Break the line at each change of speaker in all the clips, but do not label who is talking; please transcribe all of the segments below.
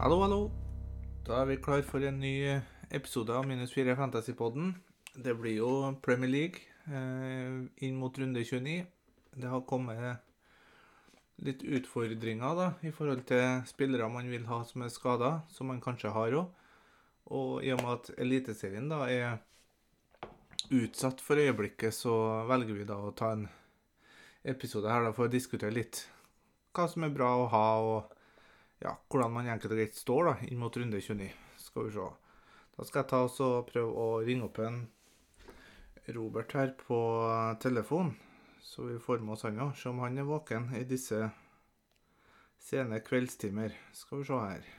Hallo, hallo. Da er vi klar for en ny episode av Minus 4 Fantasypodden. Det blir jo Premier League eh, inn mot runde 29. Det har kommet litt utfordringer da, i forhold til spillere man vil ha som er skada, som man kanskje har òg. Og i og med at Eliteserien da er utsatt for øyeblikket, så velger vi da å ta en episode her da, for å diskutere litt hva som er bra å ha, og ja, hvordan man enkelt og greit står da, inn mot runde 29. Skal vi se. Da skal jeg ta oss og prøve å ringe opp en Robert her på telefon, så vi får med oss han òg. Se om han er våken i disse sene kveldstimer. Skal vi se her.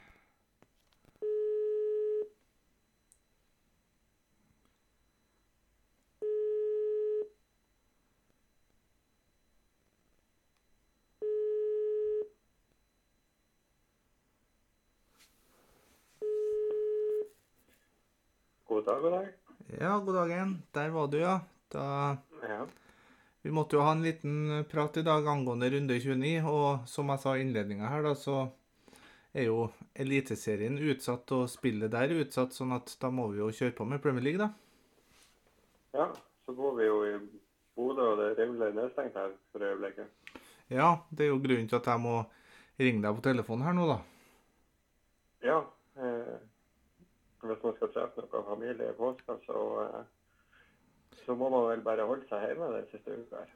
God dag, god dag.
Ja, god dagen. Der var du, ja. Da
Ja.
Vi måtte jo ha en liten prat i dag angående runde 29, og som jeg sa i innledninga her, da, så er jo Eliteserien utsatt, og spillet der er utsatt, sånn at da må vi jo kjøre på med Premier League, da.
ja, så bor vi jo i Bodø, og det er rimelig nedstengt her for øyeblikket.
Ja, det er jo grunnen til at jeg må ringe deg på telefonen her nå, da.
Ja. Eh, hvis man skal treffe noe familie i påska, så, eh, så må man vel bare holde seg hjemme den siste uka her.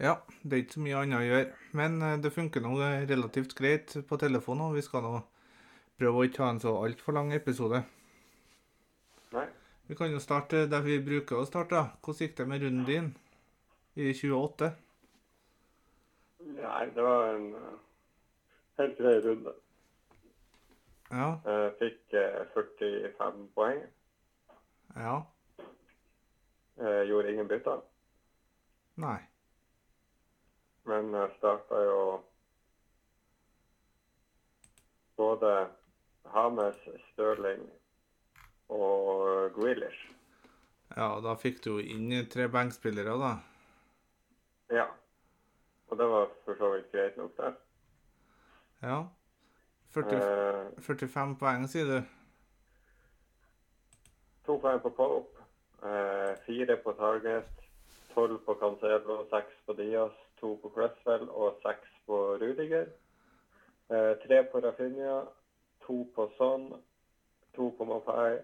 Ja, det er ikke så mye annet å gjøre. Men eh, det funker nå relativt greit på telefonen, og vi skal nå prøve å ikke ha en så altfor lang episode.
Nei.
Vi kan jo starte der vi bruker å starte, da. Hvordan gikk det med runden din i 28?
Nei, det var en eh, helt grei runde.
Ja,
Jeg fikk eh, 45 poeng.
ja,
Eh, gjorde ingen bytter.
nei.
Men jeg starta jo både Hames, Stirling og Grealish.
Ja, og da fikk du jo inn tre bankspillere, da.
Ja. Og det var for så vidt greit nok, det.
Ja. 40,
Eh,
45 poeng, sier du.
to poeng på Pope, eh, fire på Target, tolv på Cancelo, seks på Diaz, to på Cresswell og seks på Rudiger. Eh, tre på Rafinha, to på Son, to på Mapai,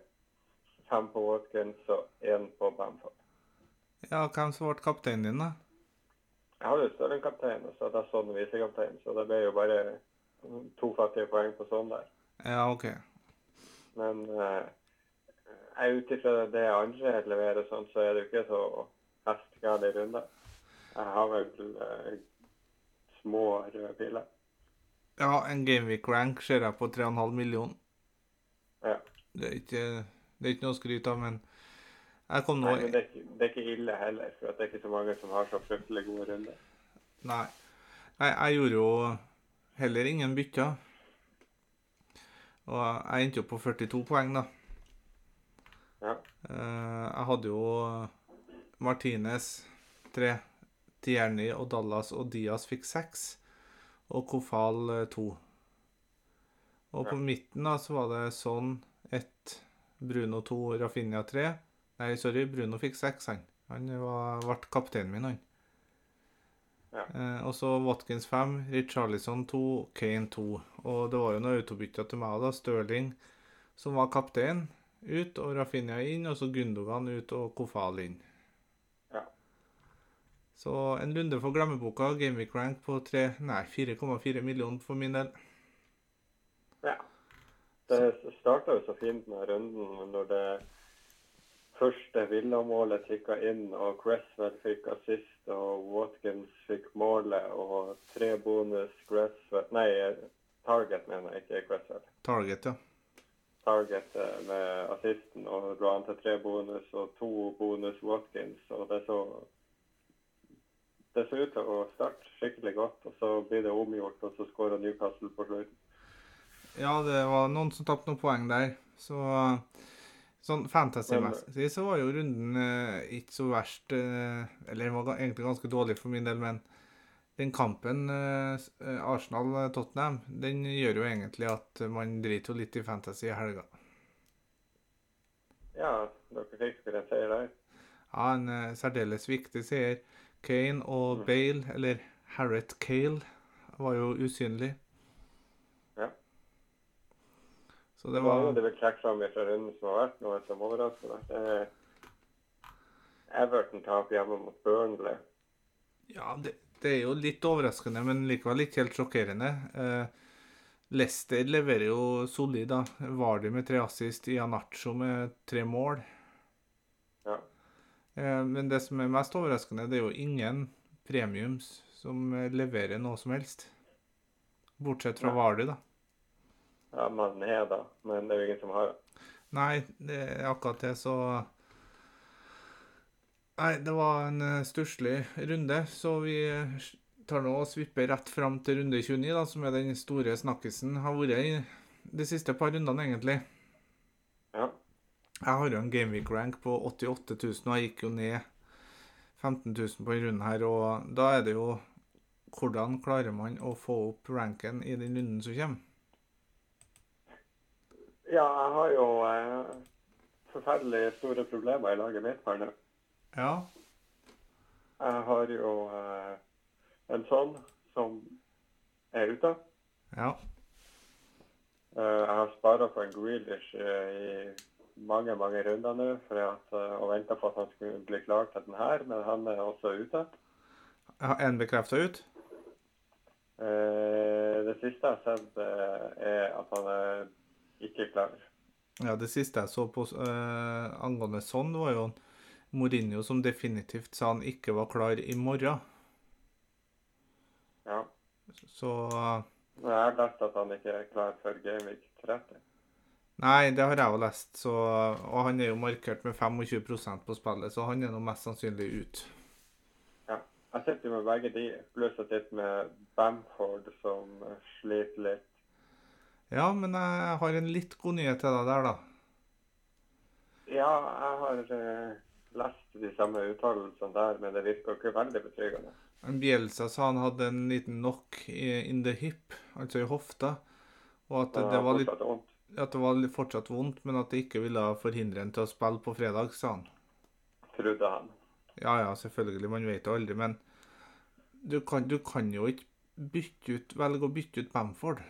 fem på Watkins og én på Bamford.
Ja, hvem som ble kapteinen din, da?
Jeg hadde jo større enn kaptein, og så hadde jeg sånn visekaptein, så det ble jo bare to fattige poeng på sånn der.
Ja, OK.
Men eh, jeg ut ifra det andre leverer og sånn, så er det jo ikke så hestegale runder. Jeg har vel eh, små røde piler.
Ja, en Gameweek rank ser jeg på 3,5 million.
Ja.
Det er ikke, det er ikke noe å skryte av, men jeg kom nå
Nei, men det er, ikke, det er ikke ille heller, for at det er ikke så mange som har så fryktelig gode runder.
Nei. Nei, jeg gjorde jo heller ingen bytter. Og jeg endte jo på 42 poeng, da.
Ja.
Eh, Jeg hadde jo Martinez tre, Tierney og Dallas og Diaz fikk seks, og Kofal eh, to. Og på midten da så var det sånn ett, Bruno to, Rafinha tre. Nei, sorry, Bruno fikk seks, han. Han var- ble kapteinen min, han.
Ja.
Eh, og så Watkins 5, Richarlison 2, Kane 2. Og det var jo noen autobytter til meg, da. Stirling, som var kaptein, ut, og Rafinha inn, og så Gundogan ut og Kofal inn.
Ja.
Så en runde for glemmeboka, Gameweek rank på tre, nei, 4,4 millioner for min del.
Ja. Det starta jo så fint med runden når det første villamålet trykka inn, og Cresswell fikk assist, og Watkins fikk målet, og tre bonus Cresswell Nei, eh, Target, mener jeg, ikke Cresswell.
Target, ja.
Target eh, med assisten, og det lå an til tre bonus og to bonus Watkins, og det så det så ut til å starte skikkelig godt, og så blir det omgjort, og så skårer Newcastle på slutten.
Ja, det var noen som tapte noen poeng der. Så sånn fantasy-messig så var jo runden eh, ikke så verst eh, Eller den var ga- egentlig ganske dårlig for min del, men den kampen eh, s- eh, Arsenal-Tottenham, den gjør jo egentlig at man driter jo litt i fantasy i helga.
Ja, dere fikk vel en seier der.
Ja, en eh, særdeles viktig seier. Kane og Bale, eller Harriet Cale, var jo usynlig.
Ja.
Så det
Hva
var
må du vil trekke fram fra runden som har vært, noe som overrasker deg? Det er Everton taper hjemme mot Burnley.
Ja, det, det er jo litt overraskende, men likevel ikke helt sjokkerende. Eh, Leicester leverer jo solid, da. Vardy med tre assist, Ianacho med tre mål.
Ja.
Eh, men det som er mest overraskende, det er jo ingen premiums som eh, leverer noe som helst. Bortsett fra
Nei.
Vardy, da.
Ja, mannen er da, men det er jo ingen som har det.
Nei, det er akkurat det, så Nei, det var en eh, stusslig runde, så vi eh, s- tar nå og svipper rett fram til runde 29, da, som er den store snakkisen har vært i de siste par rundene, egentlig.
Ja.
Jeg har jo en gameweek-rank på 88 000, og jeg gikk jo ned 15 000 på en runde her, og da er det jo hvordan klarer man å få opp ranken i den runden som kommer?
ja, jeg har jo eh, forferdelig store problemer i laget mitt her nå.
Ja,
Jeg har jo eh, en sånn som er ute.
ja,
Eh, jeg har spara på en Grealish eh, i mange, mange runder nå for at, eh, og venta på at han skulle bli klar til den her, men han er også ute.
er den bekrefta ut?
Eh, det siste jeg har sett, eh, er at han er ikke klar.
Ja, det siste jeg så på eh, angående sånn, var jo Mourinho som definitivt sa han ikke var klar i morgen.
Ja.
Så
Men jeg har lært at han ikke er klar før Gameweek 30.
Nei, det har jeg jo lest, så Og han er jo markert med 25 på spillet, så han er nå mest sannsynlig ut.
Ja. Jeg sitter jo med begge de, pluss jeg sitter med Bamford, som sliter litt.
Ja, men jeg har en litt god nyhet til deg der, da.
Ja, jeg har eh, lest de samme uttalelsene der, men det virker ikke veldig betryggende.
En Bielsa sa han hadde en liten knock i- in the hip, altså i hofta, og at det, var litt,
fortsatt vondt.
at det var litt fortsatt vondt, men at det ikke ville forhindre en til å spille på fredag, sa han.
Trodde han.
Ja, ja, selvfølgelig. Man vet jo aldri. Men du kan, du kan jo ikke bytte ut, velge å bytte ut Bamford.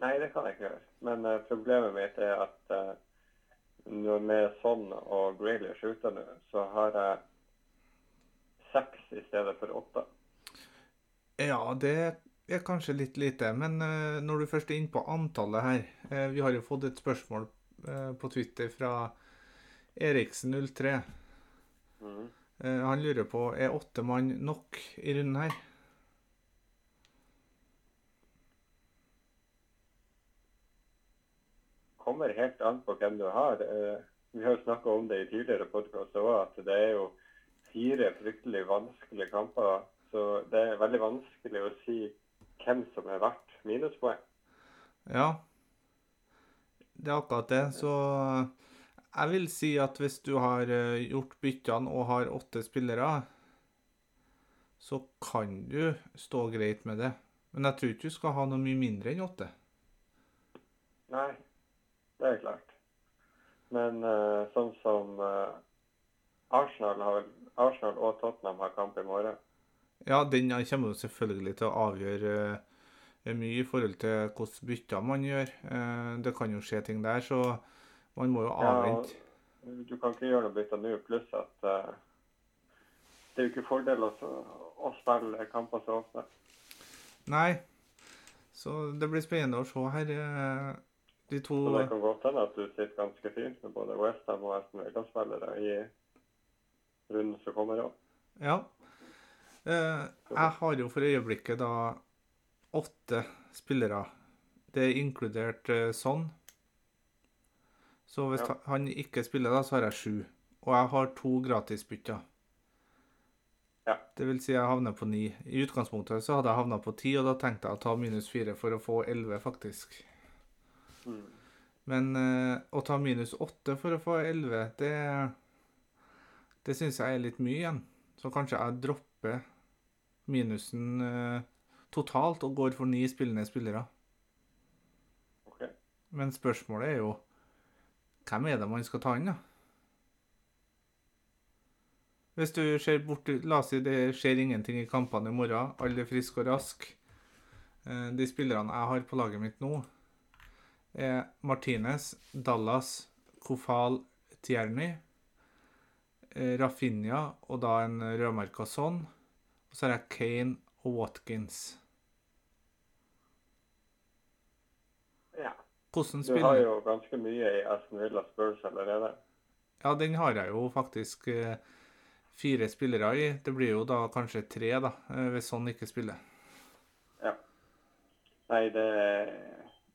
Nei, det kan jeg ikke gjøre. Men eh, problemet mitt er at eh, når med sånn og Grealish ute nå, så har jeg seks i stedet for åtte.
Ja, det er kanskje litt lite. Men eh, når du først er inne på antallet her eh, Vi har jo fått et spørsmål eh, på Twitter fra Eriksen03.
Mhm.
Eh, han lurer på er åtte mann nok i runden her.
Kommer helt an på hvem du har. Eh, vi har jo snakka om det i tidligere podkast òg, at det er jo fire fryktelig vanskelige kamper. Så det er veldig vanskelig å si hvem som er verdt minuspoeng.
Ja, det er akkurat det. Så jeg vil si at hvis du har eh, gjort byttene og har åtte spillere, så kan du stå greit med det. Men jeg tror ikke du skal ha noe mye mindre enn åtte.
Nei, det er klart. Men eh, sånn som eh, Arsenal, har, Arsenal og Tottenham har kamp i morgen.
Ja, den kommer jo selvfølgelig til å avgjøre eh, mye i forhold til hvilke bytter man gjør. Eh, Det kan jo skje ting der, så man må jo avvente.
og du kan ikke gjøre noe bytte nå, pluss at eh, det er jo ikke fordel å, å spille kamper så ofte.
Nei. Så det blir spennende å se her. eh, De to
Så det kan godt hende at du sitter ganske fint med både Westham og Aston Villa-spillere i runden som kommer òg.
Ja. Eh, jeg har jo for øyeblikket da åtte spillere. Det er inkludert eh, Son. Så hvis
Ja.
ta- han ikke spiller, da, så har jeg sju. Og jeg har to gratisbytter.
Ja.
Det vil si jeg havner på ni. I utgangspunktet så hadde jeg havna på ti, og da tenkte jeg å ta minus fire for å få elleve, faktisk.
Mm.
Men eh, å ta minus åtte for å få elleve, det, det syns jeg er litt mye igjen. Så kanskje jeg dropper minusen eh, totalt og går for ni spillende spillere.
Ok.
Men spørsmålet er jo hvem er det man skal ta inn, da? Hvis du ser bort La oss si det skjer ingenting i kampene i morgen. Alle er friske og raske. Eh, De spillerne jeg har på laget mitt nå, er Martinez, Dallas, Kofal, Tierny, eh, Rafinha og da en rødmerka sånn. Og så har jeg Kane og Watkins.
Ja.
Hvordan
Du har
spiller
jo ganske mye i Aston Villa Spurs allerede.
Ja, den har jeg jo faktisk eh, fire spillere i. Det blir jo da kanskje tre, da, eh, hvis sånn ikke spiller.
Nei, det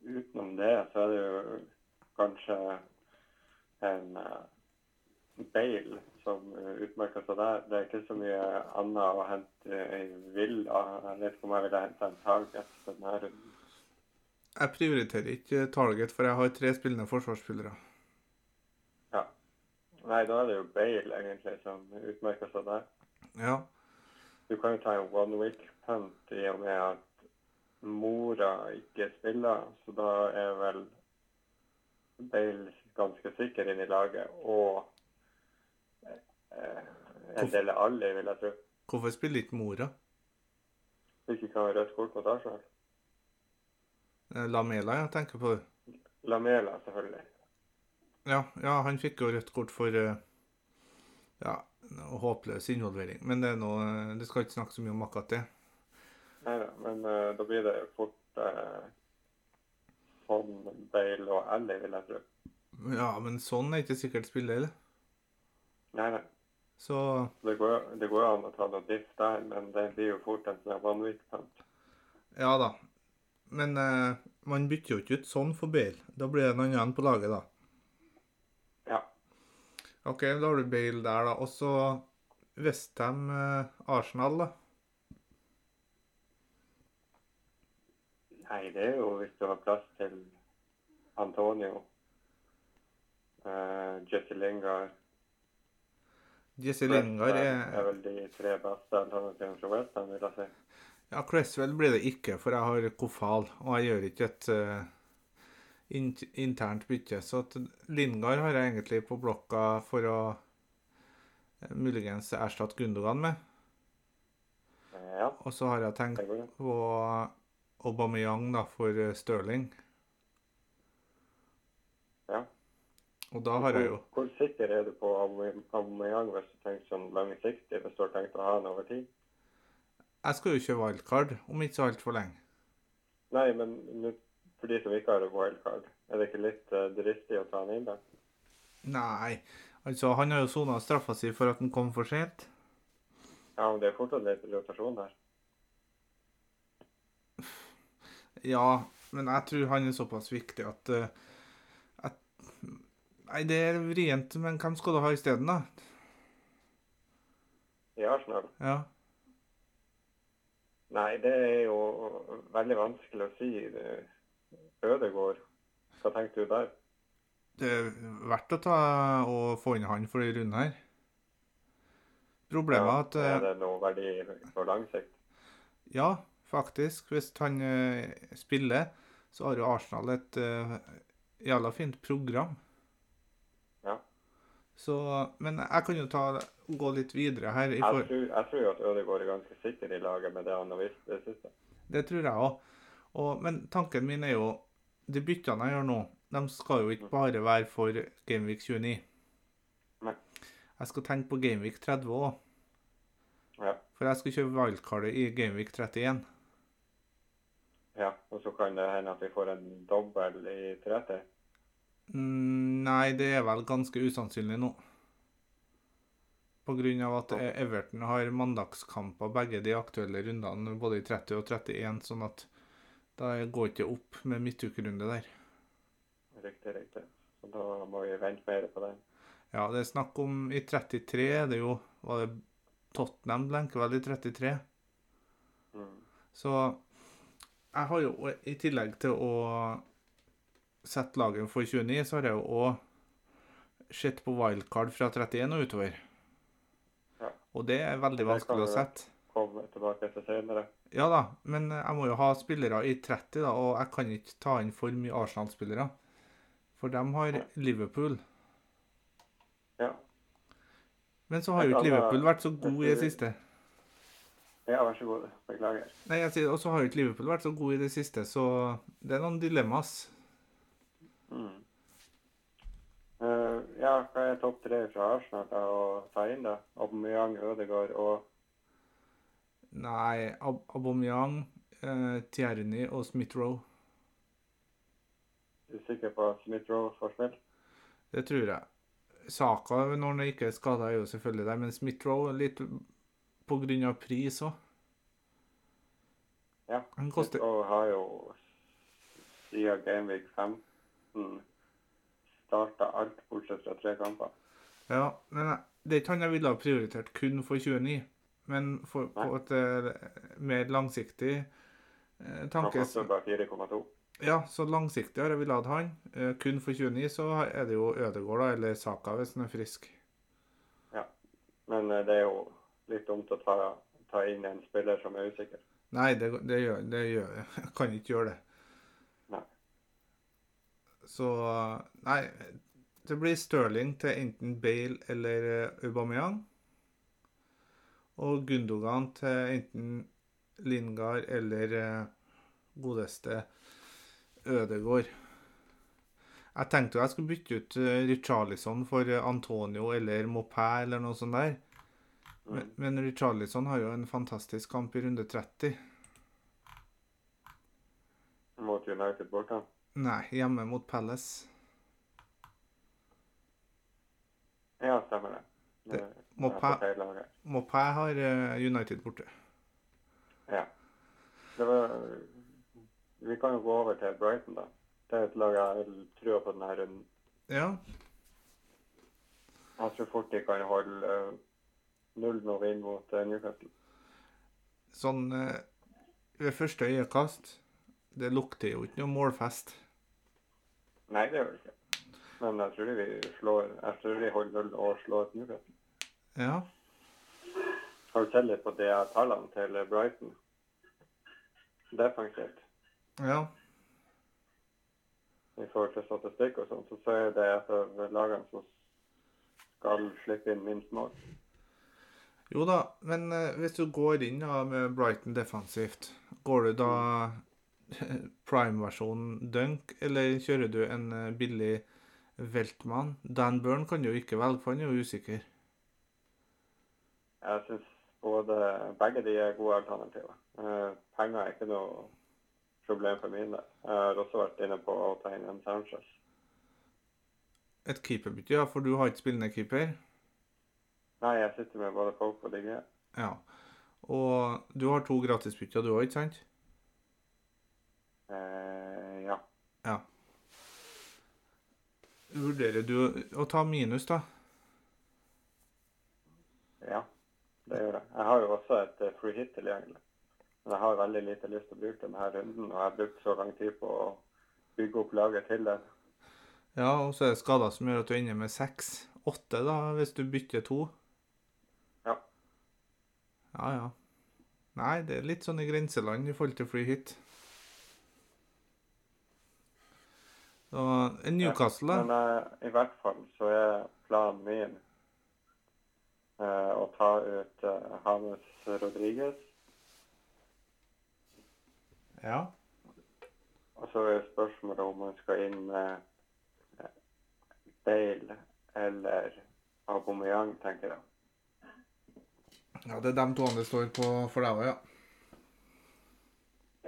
Utenom det så er det jo kanskje en uh, Bale som eh, utmerker seg der. Det er ikke så mye annet å hente i Villa. Jeg vet ikke om jeg ville hente en target denne runden.
Jeg prioriterer ikke eh, target, for jeg har tre spillende forsvarsspillere.
Ja. Nei, da er det jo Bale egentlig som utmerker seg der.
Ja.
Du kan jo ta en one week punt i og med at mora ikke spiller, så da er vel Bale ganske sikker inn i laget. Og eh, en del av alle, vil jeg tro.
Hvorfor spiller ikke mora?
Hvis ikke kan ha rødt kort mot Arsenal.
Eh, Lamela, jeg tenker på.
Lamela, selvfølgelig.
Ja, ja han fikk jo rødt kort for eh, ja, noe håpløs involvering. Men det er noe, eh, det skal ikke snakke så mye om akkurat det.
Neida, men eh, da blir det fort eh, sånn Bale og Ally, vil jeg tro.
Ja, men sånn er ikke sikkert spillet, eller?
Nei, nei.
Så
Det går, det går an å ta noe diff der, men det blir jo fort en sånn vanvittig punt.
Ja da. Men eh, man bytter jo ikke ut sånn for Bale. Da blir det noen annen på laget, da.
Ja.
OK, da har du Bale der, da. Og så Westham eh, Arsenal, da.
Nei, det er jo hvis du har plass til Antonio, eh, Jesse Lingard
Jesse Lingard
Cresswell er
er
vel de tre beste alternativene fra West Ham, vil jeg si.
Ja, Cresswell blir det ikke, for jeg har Kofal, og jeg gjør ikke et eh, in internt bytte. Så at Lingard har jeg egentlig på blokka for å eh, muligens erstatte Gundogan med.
Eh, Ja,
Og så har jeg tenkt
det går jo.
på Aubameyang da, for eh, Stirling.
Ja.
Og da har jeg jo
Hvor sikker er du på Aubame- Aubameyang hvis du tenker sånn langsiktig, hvis du har tenkt å ha han over tid?
Jeg skal jo kjøre wildcard om ikke så altfor lenge.
Nei, men nå- for de som ikke har et wildcard, er det ikke litt eh, dristig å ta han inn der?
Nei, altså han har jo sona straffa si for at han kom for sent.
Ja, men det er fortsatt litt rotasjon der.
Ja, men jeg tror han er såpass viktig at, eh, at Nei, det er vrient, men hvem skal du ha isteden, da?
I Arsenal
Ja.
Nei, det er jo veldig vanskelig å si. Det- Ødegård, hva tenkte du der?
Det er verdt å ta og få inn han for en runde her. Problemet er at eh,
Er det noe verdi på lang sikt?
Ja, faktisk. Hvis han eh, spiller, så har jo Arsenal et uh, jævla fint program.
Ja.
Så, men jeg kan jo ta, gå litt videre her. I
Jeg
for,
tror, jeg tror jo at Ødegård er ganske sikker i laget med det han har vist det siste.
det tror jeg òg. Men tanken min er jo De byttene jeg gjør nå, de skal jo ikke
Mm.
bare være for Gameweek 29.
Nei.
Jeg skal tenke på Gameweek 30 òg,
Ja,
for jeg skal kjøpe wildcardet i Gameweek 31.
ja. Og så kan det hende at vi får en dobbel i 30.
Mm, Nei, det er vel ganske usannsynlig nå. På grunn av at eh, Everton har mandagskamper begge de aktuelle rundene, både i 30 og 31, sånn at da går ikke opp med midtukerunde der.
Riktig, riktig. Så da må vi vente mer på den.
Ja, det er snakk om I 33 er det jo Var det Tottenham blenker vel i 33?
Mm.
Så jeg har jo i tillegg til å sette laget for 29, så har jeg jo òg sett på wildcard fra 31 og utover.
Ja.
Og det er veldig
Det kan
vanskelig å
være.
sette.
komme tilbake til senere.
Ja da, men jeg må jo ha spillere i 30, da, og jeg kan ikke ta inn for mye Arsenal-spillere. For de har Liverpool.
Ja.
Men så har jo ikke
Jeg kan, eh,
Liverpool vært så god i det
jeg
siste.
Ja, vær så god. Beklager.
Nei, jeg sier, Og så har jo ikke Liverpool vært så god i det siste, så det er noen dilemmas.
Mm. Eh, ja, hva er topp tre fra Arsenal da, å ta inn, da? Aubameyang, Ødegaard og
Nei, Ab Aubameyang, eh, Tierney og Smith-Roe.
Du er sikker på at Smith-Rowe får spilt?
Det tror jeg. Saka når han ikke er skada, er jo selvfølgelig der, men Smith-Roe litt på grunn av pris òg.
Ja.
Han koster
Smith-Rowe har jo siden Gameweek 15 starta mm, alt bortsett fra tre kamper.
Ja, men jeg- det er ikke han jeg ville ha prioritert kun for 29, men for, på et eh, mer langsiktig eh,
Han
tanke
koster bare 4,2.
Ja, så langsiktig har jeg ville hatt han. Eh, kun for 29 så har- er det jo Ødegaard da, eller Saka hvis han er frisk.
Men eh, det er jo litt dumt å ta, ta inn en spiller som er usikker.
Nei, det, det gjør det gjør Jeg kan ikke gjøre det.
Nei.
Så Nei, det blir Stirling til enten Bale eller eh, Aubameyang. Og Gundogan til enten Lingard eller eh, godeste Ødegård. Jeg tenkte jo jeg skulle bytte ut eh, Richarlison for eh, Antonio eller Mopé eller noe sånt der. Men, men Richarlison har jo en fantastisk kamp i runde 30.
Mot United borte.
Nei, hjemme mot Palace.
Ja, stemmer det. det
må
jeg er
pa-
på feil lag her.
Mopé har eh, United borte.
Ja. Det var, vi kan jo gå over til Brighton, da. Det er et lag jeg tror på denne runden.
Ja,
Jeg tror fort de kan holde eh, null når vi er inn mot eh, Newcastle.
sånn eh, ved første øyekast Det lukter jo ikke noe målfest.
Nei, det gjør de ikke. Men jeg tror de, vi slår, jeg tror de holder null og slår Newcastle.
Ja.
Har du sett litt på de tallene til Brighton? Defensivt.
Ja.
i forhold til statistikk og sånt, så sier det at det er lagene som skal slippe inn minst mål.
Jo da, men eh, hvis du går inn da med Brighton defensivt, går du da prime-versjonen dunk, eller kjører du en eh, billig Weltmann? Dan Burn kan du jo ikke velge, for han er jo usikker.
Jeg syns både begge de er gode alternativer. Eh, penger er ikke noe problem for min del. Jeg har også vært inne på å tegne en Sanchez.
Et keeperbytte, ja, for du har ikke spillende keeper.
Nei, jeg sitter med både folk og digge.
Ja. Og du har to gratisbytter, du òg, ikke sant?
Eh, ja.
Ja. Vurderer du å ta minus, da?
ja, det gjør jeg. Jeg har jo også et eh, free hit tilgjengelig. Men jeg har veldig lite lyst til å bruke denne runden, og jeg har brukt så lang tid på å bygge opp laget til den.
Ja, og så er det skader som gjør at du ender med seks. Åtte, da, hvis du bytter to.
Ja.
Ja, ja. Nei, det er litt sånn i grenseland i forhold til fly hit. Og Newcastle, da?
Men eh, i hvert fall så er planen min eh, å ta ut uh, Hames Rodriguez,
Ja.
og så er spørsmålet om man skal inn med eh, Bale eller Aubameyang, tenker jeg.
ja. Det er dem to andre står på for deg òg, ja.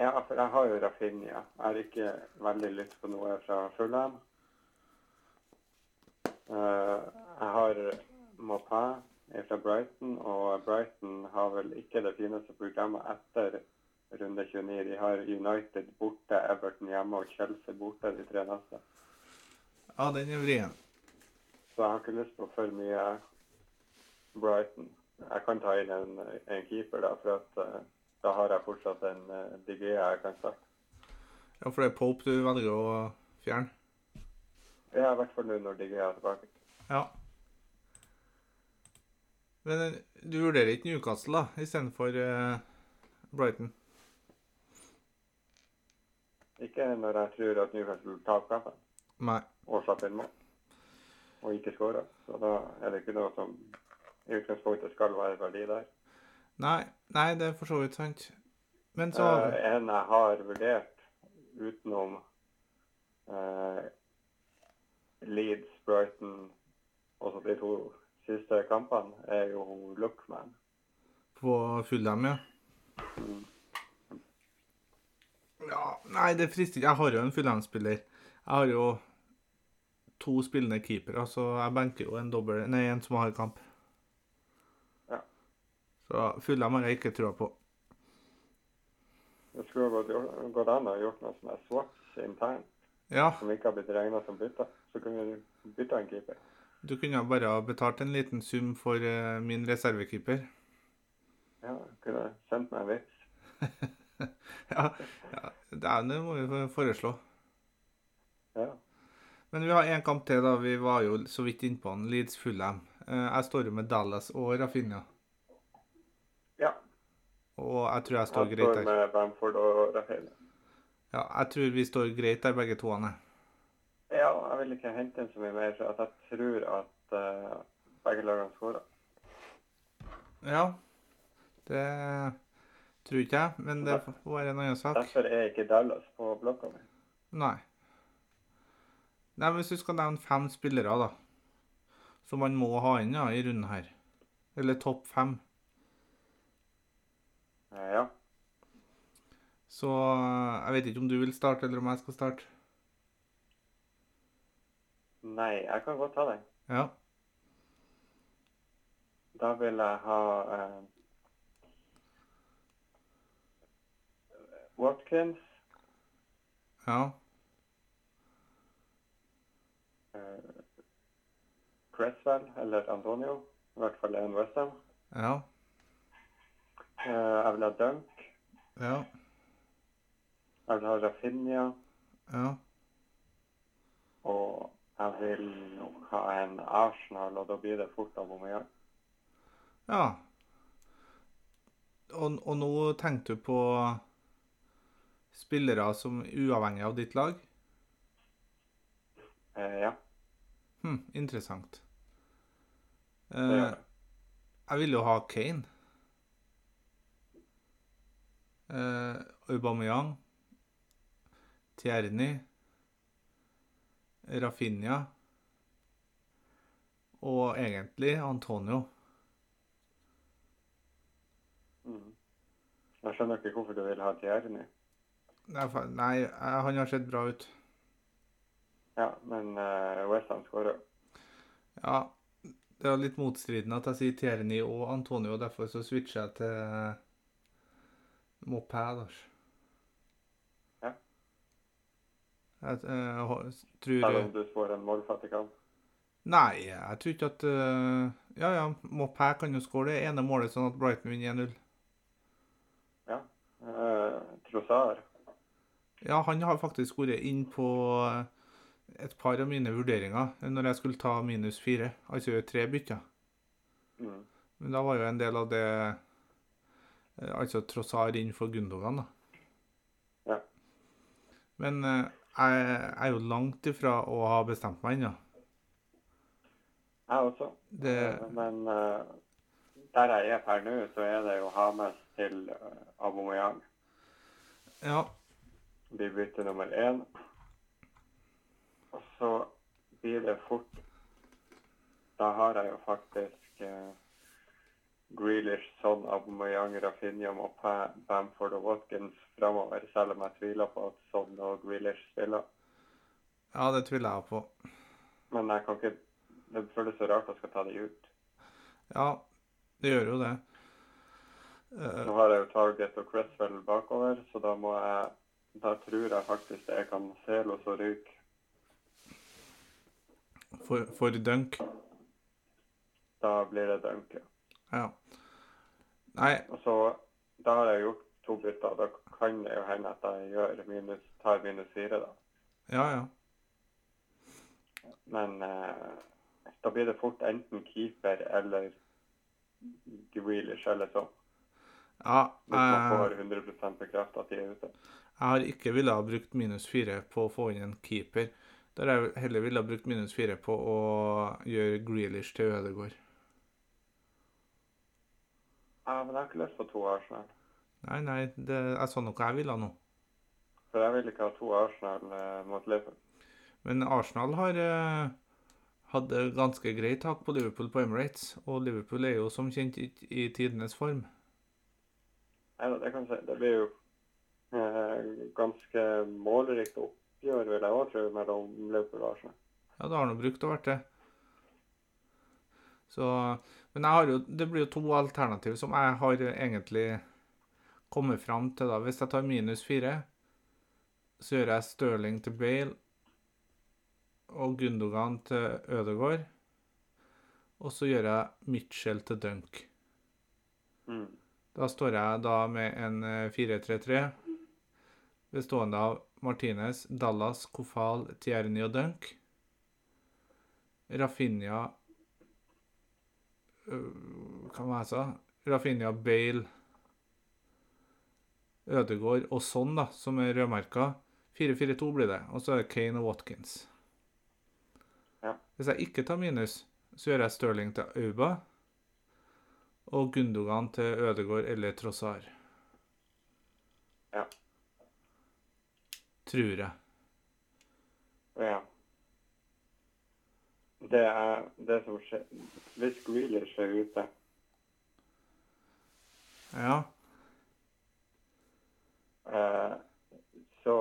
Ja, for jeg har jo Rafinha. Jeg har ikke veldig lyst på noe fra Fulham. Eh, jeg har Mopé fra Brighton, og Brighton har vel ikke det fineste programmet etter runde 29. De har United borte, Everton hjemme og Chelsea borte de tre neste.
Ja, den er vrien.
Så jeg har ikke lyst på for mye Brighton. Jeg kan ta inn en, en keeper, da, for at, eh, da har jeg fortsatt en uh, Digea jeg kan starte.
Ja, for det er Pope du velger å fjerne.
Ja, i hvert fall nå når de er tilbake.
Ja. Men eh, du vurderer ikke Newcastle da, istedenfor eh, Brighton?
Ikke når jeg tror at Newcastle taper kampen
Nei.
og slipper inn mål og ikke skårer. Så da er det ikke noe som i utgangspunktet skal være verdi der.
Nei, nei det er for så vidt sant. Men så
Eh, en jeg har vurdert utenom eh, Leeds, Brighton og så de to siste kampene, er jo Lookman.
på Fulham, ja. Ja, Nei, det frister ikke. Jeg har jo en Fulham-spiller. Jeg har jo to spillende keepere, så jeg benker jo en dobbel Nei, en som har kamp.
Ja.
Så Fulham har jeg ikke trua på.
Det skulle gått, gått an å gjort noe som er swaps internt,
Ja,
som ikke har blitt regna som bytta. Så kunne du bytta en keeper.
du kunne ha bare ha betalt en liten sum for eh, min reservekeeper.
Ja, kunne sendt meg en vits.
ja, ja, det er det må vi foreslå.
Ja.
Men vi har én kamp til, da. Vi var jo så vidt innpå den. Leeds Fulham. Eh, Jeg står jo med Dallas og Rafinha.
ja.
Og jeg tror jeg står
Han
greit
står
der.
med Bamford og Rafael.
Ja, jeg tror vi står greit der, begge to. Anne.
Ja, jeg vil ikke hente inn så mye mer, for at jeg tror at eh, begge lagene skårer.
Ja. Det tror ikke jeg, men det får være en annen sak.
Derfor er ikke Dallas på blokka mi.
Nei. Nei, men Hvis du skal nevne fem spillere da, som man må ha inn ja, i runden her, eller topp fem,
Eh, Ja.
så eh, jeg vet ikke om du vil starte, eller om jeg skal starte.
Nei, jeg kan godt ta den.
Ja.
Da vil jeg ha eh, Watkins,
Ja.
eh, Cresswell eller Antonio. I hvert fall en Westham.
Ja.
Eh, jeg vil ha Dunk.
Ja.
Jeg vil ha Rafinha.
Ja.
Og jeg vil nok ha en Arsenal, og da blir det fort Aubameyang.
ja. Og, og nå tenkte du på spillere som er uavhengig av ditt lag?
Eh, ja.
Hm, interessant.
det
Eh,
gjør jeg.
jeg ville jo ha Kane. Eh, Aubameyang. Tierney. Rafinha. Og egentlig Antonio.
Mm. Jeg skjønner ikke hvorfor du vil ha Tierney.
Nei, fa- nei, eh, han har sett bra ut.
Ja, men uh, Westham skårer.
Ja, det er litt motstridende at jeg sier Tierney og Antonio, derfor så switcher jeg til eh, altså. Mopé, Lars.
Ja.
Jeg eh, hå-
Selv
tror
om du får en målfattig kamp.
Nei, jeg tror ikke at eh, Ja, ja, Mopé kan jo skåre det ene målet, sånn at Brighton vinner 1-0.
Ja. Eh, Trossar.
Ja, han har faktisk vært inn på eh, et par av mine vurderinger når jeg skulle ta minus fire, altså tre bytter.
Mm.
Men da var jo en del av det eh, Altså Trossar inn for Gundogan, da.
Ja.
Men eh, jeg jeg er jo langt ifra å ha bestemt meg ennå.
Jeg også.
Det-
Eh, men eh, der jeg er per nå, så er det jo Hames til uh, Aubameyang.
Ja.
blir bytte nummer én. Og så blir det fort Da har jeg jo faktisk eh, Grealish, Son, Aubameyang, Rafinha, Mopé, Bamford og Watkins framover, selv om jeg tviler på at Son og Grealish spiller.
ja, det tviler jeg på.
Men jeg kan ikke Det føles så rart å skal ta de ut.
Ja, det gjør jo det. Eh,
Nå har jeg jo Target og Cresswell bakover, så da må jeg Da tror jeg faktisk jeg kan sele og så ryke.
for, for dunk.
Da blir det dunk, ja.
Ja. Nei,
Og så, da har jeg gjort to bytter. Da kan det jo hende at jeg gjør minus, tar minus fire, da.
ja, ja.
Men eh, da blir det fort enten keeper eller Grealish eller sånn.
Ja,
Hvis man
jeg,
får 100 bekreftet at de er ute.
jeg har ikke villet ha brukt minus fire på å få inn en keeper. Der jeg heller ville ha brukt minus fire på å gjøre Grealish til Ødegaard.
Ja, men jeg har ikke lyst på to Arsenal.
Nei, nei, det er sånn noe jeg ville ha nå.
For jeg vil ikke ha to Arsenal eh, mot Liverpool.
Men Arsenal har eh, hatt eh, ganske greit tak på Liverpool på Emirates, og Liverpool er jo som kjent ikke i tidenes form.
Neida, det kan jeg si. Det blir jo eh, ganske målrikt oppgjør, vil jeg også tro, mellom Liverpool og Arsenal.
Ja, det har nå brukt og vært det. Så, men jeg har jo, det blir jo to alternativ som jeg har egentlig kommet fram til. da. Hvis jeg tar minus fire, så gjør jeg Stirling til Bale og Gundogan til Ødegaard. Og så gjør jeg Mitchell til Dunk.
Mm.
Da står jeg da med en eh, 4-3-3 bestående av Martinez, Dallas, Kofal, Tierni og Dunk. Rafinha øh, Hva var det jeg sa? Rafinha, Bale, Ødegaard og sånn, da, som er rødmerka. 4-4-2 blir det. Og så er det Kane og Watkins.
Ja.
Hvis jeg ikke tar minus, så gjør jeg Stirling til Auba og Gundogan til Ødegård eller Trossar.
Ja.
Tror jeg.
Ja. Det er det som skjer. Hvis Grealish er ute,
Ja.
eh, så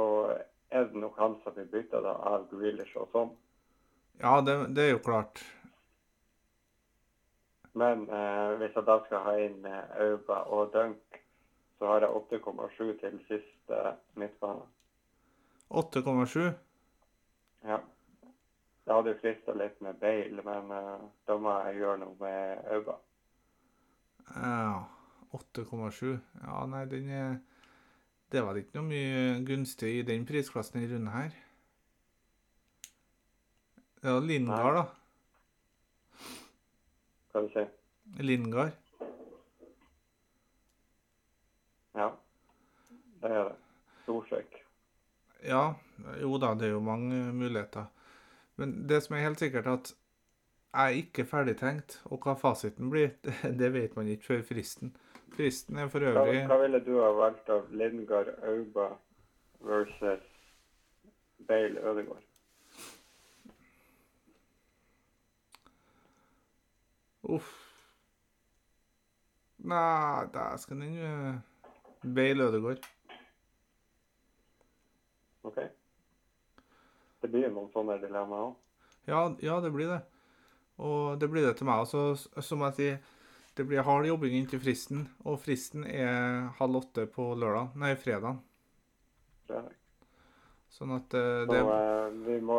er det nok han som blir byttet da, av Grealish og sånn.
Ja, det, det er jo klart.
Men eh, hvis jeg da skal ha inn eh, Auba og Dunk, så har jeg 8,7 til siste midtbane.
8,7.
Ja. Det hadde jo frista litt med Bale, men eh, da må jeg gjøre noe med Auba.
Ja. 8,7. Ja, nei, den er Det var ikke noe mye gunstig i den prisklassen i runden her. Det var Lingard, da.
Hva du si?
Lingard.
Ja. Det er det. Storsøk.
Ja, jo da, det er jo mange muligheter. Men det som er helt sikkert, er at jeg er ikke ferdigtenkt, og hva fasiten blir, det, det vet man ikke før fristen. Fristen er for
Hva,
øvrig
hva ville du ha valgt av Lindgard Auba versus Bale Ødegaard?
Uff. Nei, der skal den uh, Bale Ødegård.
OK? Det blir jo noen sånne dilemmaer òg.
Ja, ja, det blir det. Og det blir det til meg også, s- som jeg sier. Det blir hard jobbing inntil fristen, og fristen er halv åtte på lørdag, nei, fredag. Sånn at eh,
Så
det
eh, vi må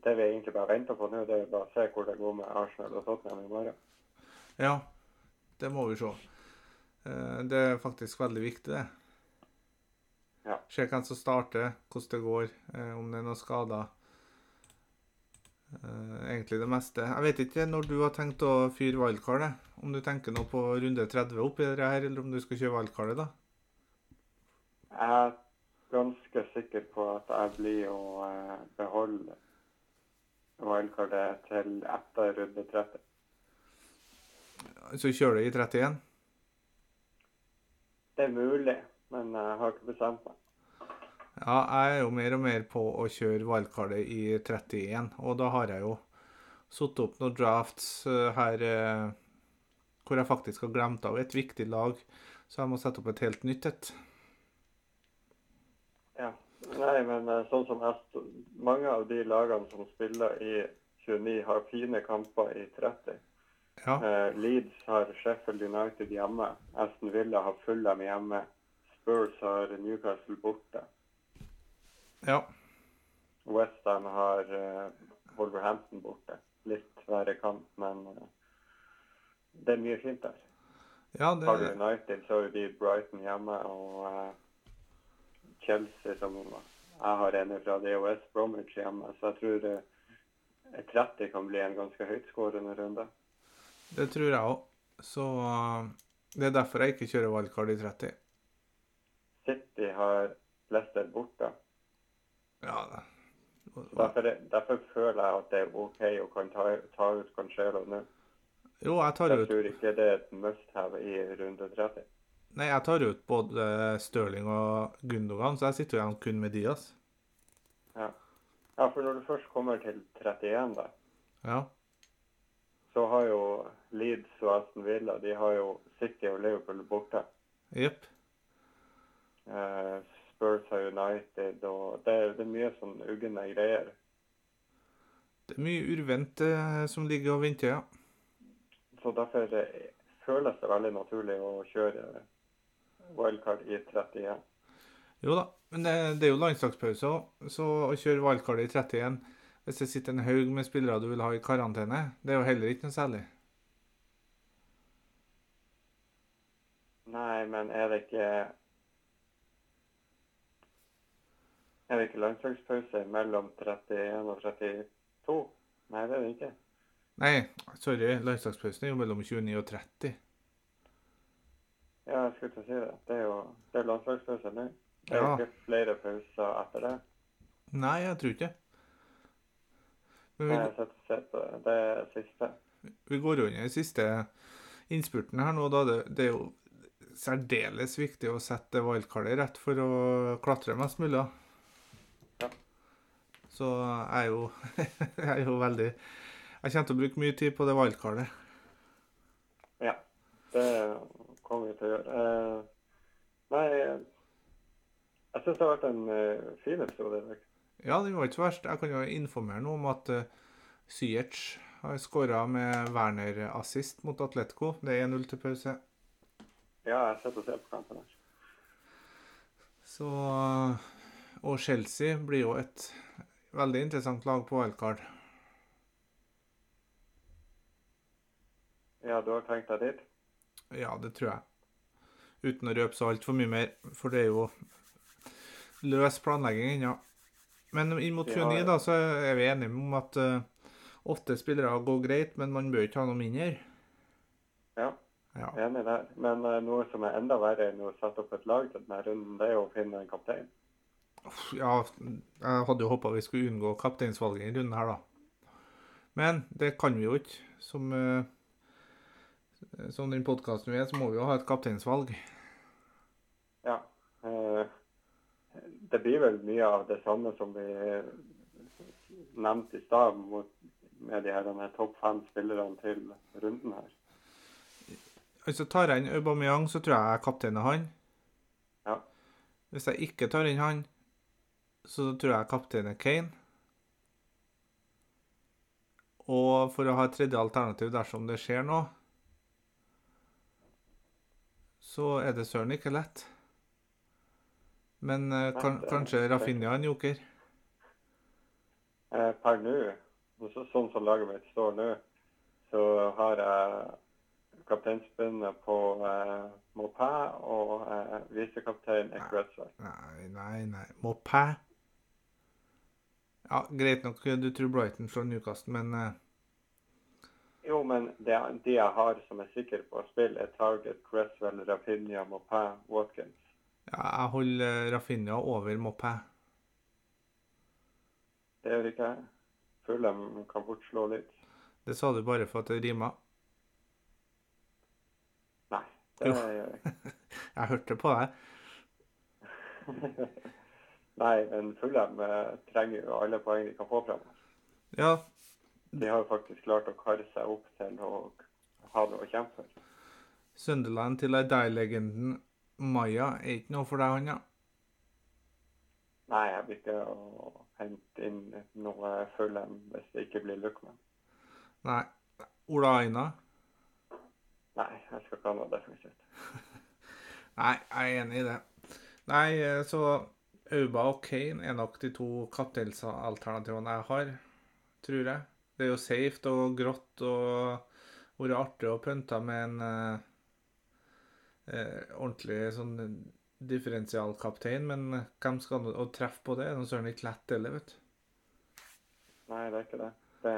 Det vi egentlig bare venter på nå, det er bare å se hvor det går med Arsenal og Tottenham i morgen.
Ja, det må vi se. Eh, Det er faktisk veldig viktig, det.
Ja.
Se hvem som starter, hvordan det går, eh, om det er noen skader. Eh, Egentlig det meste. Jeg vet ikke når du har tenkt å fyre wildcardet. Om du tenker nå på runde 30 oppi det her, eller om du skal kjøre wildcardet, da.
Jeg er ganske sikker på at jeg blir å eh, beholde wildcardet til etter runde 30.
Så kjører du i 31.
Det er mulig, men jeg har ikke bestemt meg.
Ja, jeg er jo mer og mer på å kjøre wildcardet i 31, og da har jeg jo satt opp noen drafts eh, her eh, hvor jeg faktisk har glemt av et viktig lag, så jeg må sette opp et helt nytt et.
Ja. Nei, men eh, sånn som jeg sto- Mange av de lagene som spiller i 29, har fine kamper i 30.
Ja,
Eh, Leeds har Sheffield United hjemme. Aston Villa har Fulham hjemme. Spurs har Newcastle borte.
ja,
Westham har eh, Wolverhampton borte. Litt verre kamp, men eh, det er mye fint der.
ja
Har du
det,
United, så har de Brighton hjemme og eh, Chelsea som Jeg har en fra DOS Bromwich hjemme, så jeg tror eh, 30 kan bli en ganske høytskårende runde.
det tror jeg òg. Så eh, det er derfor jeg ikke kjører wildcard i 30.
City har Leicester borte.
Ja, da.
Derfor, derfor føler jeg at det er OK å kan ta, ta ut Cancelo nå.
Jo, jeg tar
Jeg
ut
tror ikke det er et must have i runde 30.
Nei, jeg tar ut både Stirling og Gundogan, så jeg sitter jo igjen kun med Diaz.
Ja. ja, for når du først kommer til 31, da,
Ja.
så har jo Leeds og Aston Villa de har jo City og Liverpool borte.
Jepp.
Eh, Spurs har United og det, er- det er mye sånn ugne greier.
Det er mye urvent eh, som ligger og venter, ja.
Så derfor eh, føles det veldig naturlig å kjøre wildcard i 31.
Jo da, men det, det er jo landslagspause òg, så å kjøre wildcard i 31 hvis det sitter en haug med spillere du vil ha i karantene, det er jo heller ikke noe særlig.
Nei, men er det ikke Er det ikke landslagspause mellom 31 og 32? Nei, det er det ikke.
Nei, sorry, landslagspausen er jo mellom 29 og 30.
Ja, jeg skulle til å si det. Det er jo det er landslagspause nå. Det er
Ja.
ikke flere pauser etter det.
Nei, jeg tror ikke Men
Nei,
vi,
jeg setter sett på det. Det er siste.
vi går under den siste innspurten her nå, da. Det, det er jo særdeles viktig å sette det wildcardet rett for å klatre mest mulig. da.
Ja.
Så jeg er jo Jeg er jo veldig Jeg kommer til å bruke mye tid på det wildcardet.
Ja. Det kommer vi til å gjøre. Eh, nei, jeg syns det har vært en eh, fin episode i dag.
Ja, det var ikke så verst. Jeg kan jo informere noe om at eh, Ziyech har skåra med Werner-assist mot Atletico. Det er 1-0 til pause.
Ja, jeg sitter og ser på kampen her.
Så eh, Og Chelsea blir jo et veldig interessant lag på wildcard.
Ja, du har tenkt deg dit?
Ja, det tror jeg. Uten å røpe så altfor mye mer, for det er jo løs planlegging ennå. Men inn mot
Ja,
29
ja.
da, så er vi enige om at eh, åtte spillere går greit, men man bør ikke ha noe mindre.
Ja.
Ja.
Enig der. Men eh, noe som er enda verre enn å sette opp et lag til denne runden, det er jo å finne en kaptein.
ja, jeg hadde jo håpa vi skulle unngå kapteinsvalget i denne runden her, da. Men det kan vi jo ikke. Som, eh, som den podkasten vi er, så må vi jo ha et kapteinsvalg.
Ja. eh, Det blir vel mye av det samme som vi eh, nevnte i stad mot- med de her denne topp fem spillerne til runden her.
Altså Tar jeg inn Aubameyang, så tror jeg jeg kapteiner han.
Ja.
Hvis jeg ikke tar inn han, så tror jeg jeg kapteiner Kane. Og for å ha et tredje alternativ dersom det skjer noe, så er det søren ikke lett. Men eh, kan,
det er-
kanskje Rafinha er en joker?
Eh, Per nå, og så- sånn som laget mitt står nå, så har jeg kapteinspinnet på eh, Maupin og eh, visekaptein Ekwesler.
Nei, nei, nei. Mopé. Ja, greit nok, du tror Brighton slår Newcastle, men eh,
Jo, men det, de jeg har som er sikker på å spille, er Target, Cresswell, Rapinha, Maupin, Watkins.
Ja, jeg holder eh, Rafinha over Mopé.
Det gjør ikke jeg. Fulham kan fort slå litt.
Det sa du bare for at det rima.
Nei, det
Jo.
gjør jeg ikke.
Jeg hørte på deg.
Nei, men Fulham eh, trenger jo alle poeng de kan få fra meg.
Ja,
De har jo faktisk klart å karre seg opp til å ha noe å kjempe for.
Sunderland til ei legenden Maya er ikke noe for deg, han, ja.
Nei, jeg vil ikke å hente inn noe Fulham hvis det ikke blir Luckman.
Nei. Ola Aina?
Nei, jeg skal ikke ha noe defensivt.
Nei, jeg er enig i det. Nei, eh, så Auba og Kane er nok de to kapteinsalternativene jeg har, tror jeg. Det er jo safe og grått og vært artig å pynte med en eh, eh, ordentlig sånn differensialkaptein, men hvem skal nå- å treffe på det? er noe søren ikke lett heller, vet du.
Nei, det er ikke det. det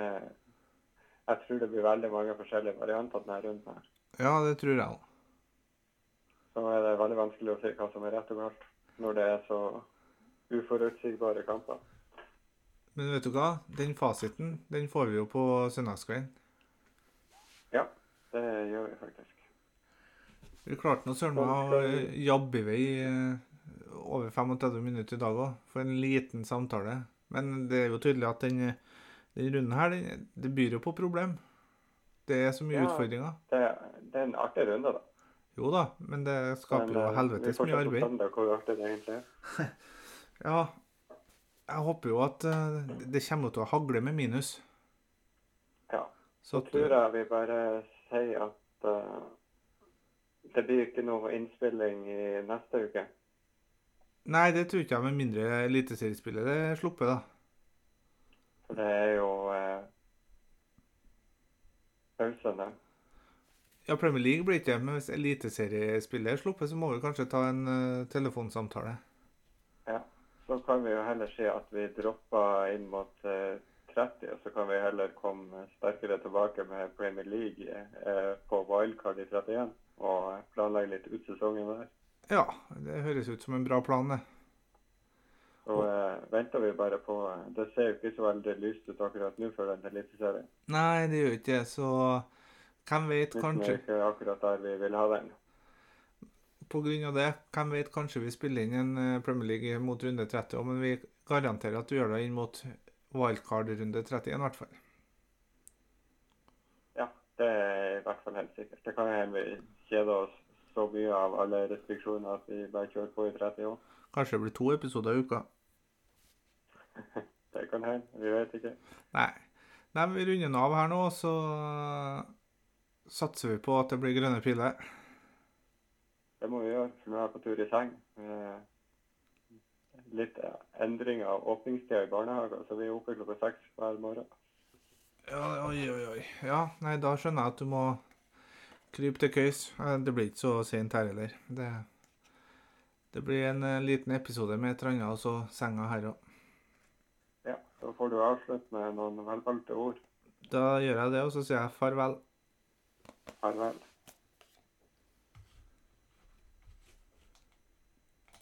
jeg tror det blir veldig mange forskjellige varianter denne runden her.
Ja, det tror jeg òg.
Så er det veldig vanskelig å si hva som er rett og galt når det er så uforutsigbare kamper.
Men vet du hva? Den fasiten den får vi jo på søndagskvelden.
Ja, det gjør vi faktisk.
Vi klarte nå søren meg å eh, jabbe i vei eh, over 35 minutter i dag òg, for en liten samtale. Men det er jo tydelig at den, eh, den runden her, den, det byr jo på problem. Det er så mye
Ja.
utfordringer.
Det, det er en artig runde, da.
Jo da, men det skaper
Men,
jo
eh,
helvetes
Vi
mye
får se på
arbeid.
søndag hvor artig det egentlig er.
Ja, jeg håper jo at eh, det kommer til å hagle med minus.
Ja.
Så
Så tror jeg vi bare sier at eh, det blir ikke noe innspilling i neste uke.
Nei, det tror ikke jeg med mindre eliteseriespillet det er sluppet, da.
For det er jo eh, pause nå.
Ja, Premier League blir ikke det, men hvis eliteseriespillet er sluppet, så må vi kanskje ta en eh, telefonsamtale.
Ja. Så kan vi jo heller si at vi dropper inn mot eh, 30, og så kan vi heller komme sterkere tilbake med Premier League eh, på wildcard i 31 og planlegge litt ut sesongen der.
Ja, det høres ut som en bra plan, det.
Så eh, venter vi bare på eh, Det ser jo ikke så veldig lyst ut akkurat nå for den eliteserien.
Nei, det gjør ikke det, så hvem vet,
Midten er
kanskje
ikke akkurat der vi vil ha den.
På grunn av det, hvem vet, kanskje vi spiller inn en eh, Premier League mot runde 30 også, men vi garanterer at vi gjør det inn mot wildcard-runde 31, i hvert fall.
Ja, det er i hvert fall helt sikkert. Det kan jo hende vi kjeder oss så mye av alle restriksjoner at vi bare kjører på i 30 år.
Kanskje det blir to episoder i uka.
Det kan hende, vi vet ikke.
Nei. Nei, men vi runder den av her nå, så eh, satser vi på at det blir grønne piler.
Det må vi gjøre, for nå er jeg på tur i seng. Eh, Litt endring av åpningstida i barnehagen, så vi er oppe klokka seks hver morgen.
Ja, oi, oi, oi. Ja, nei, da skjønner jeg at du må krype til køys. Eh, Det blir ikke så sent her heller. Det, det blir en eh, liten episode med et eller annet, og så senga her òg.
Ja, så får du avslutte med noen velvalgte ord.
Da gjør jeg det, og så sier jeg farvel.
Farvel.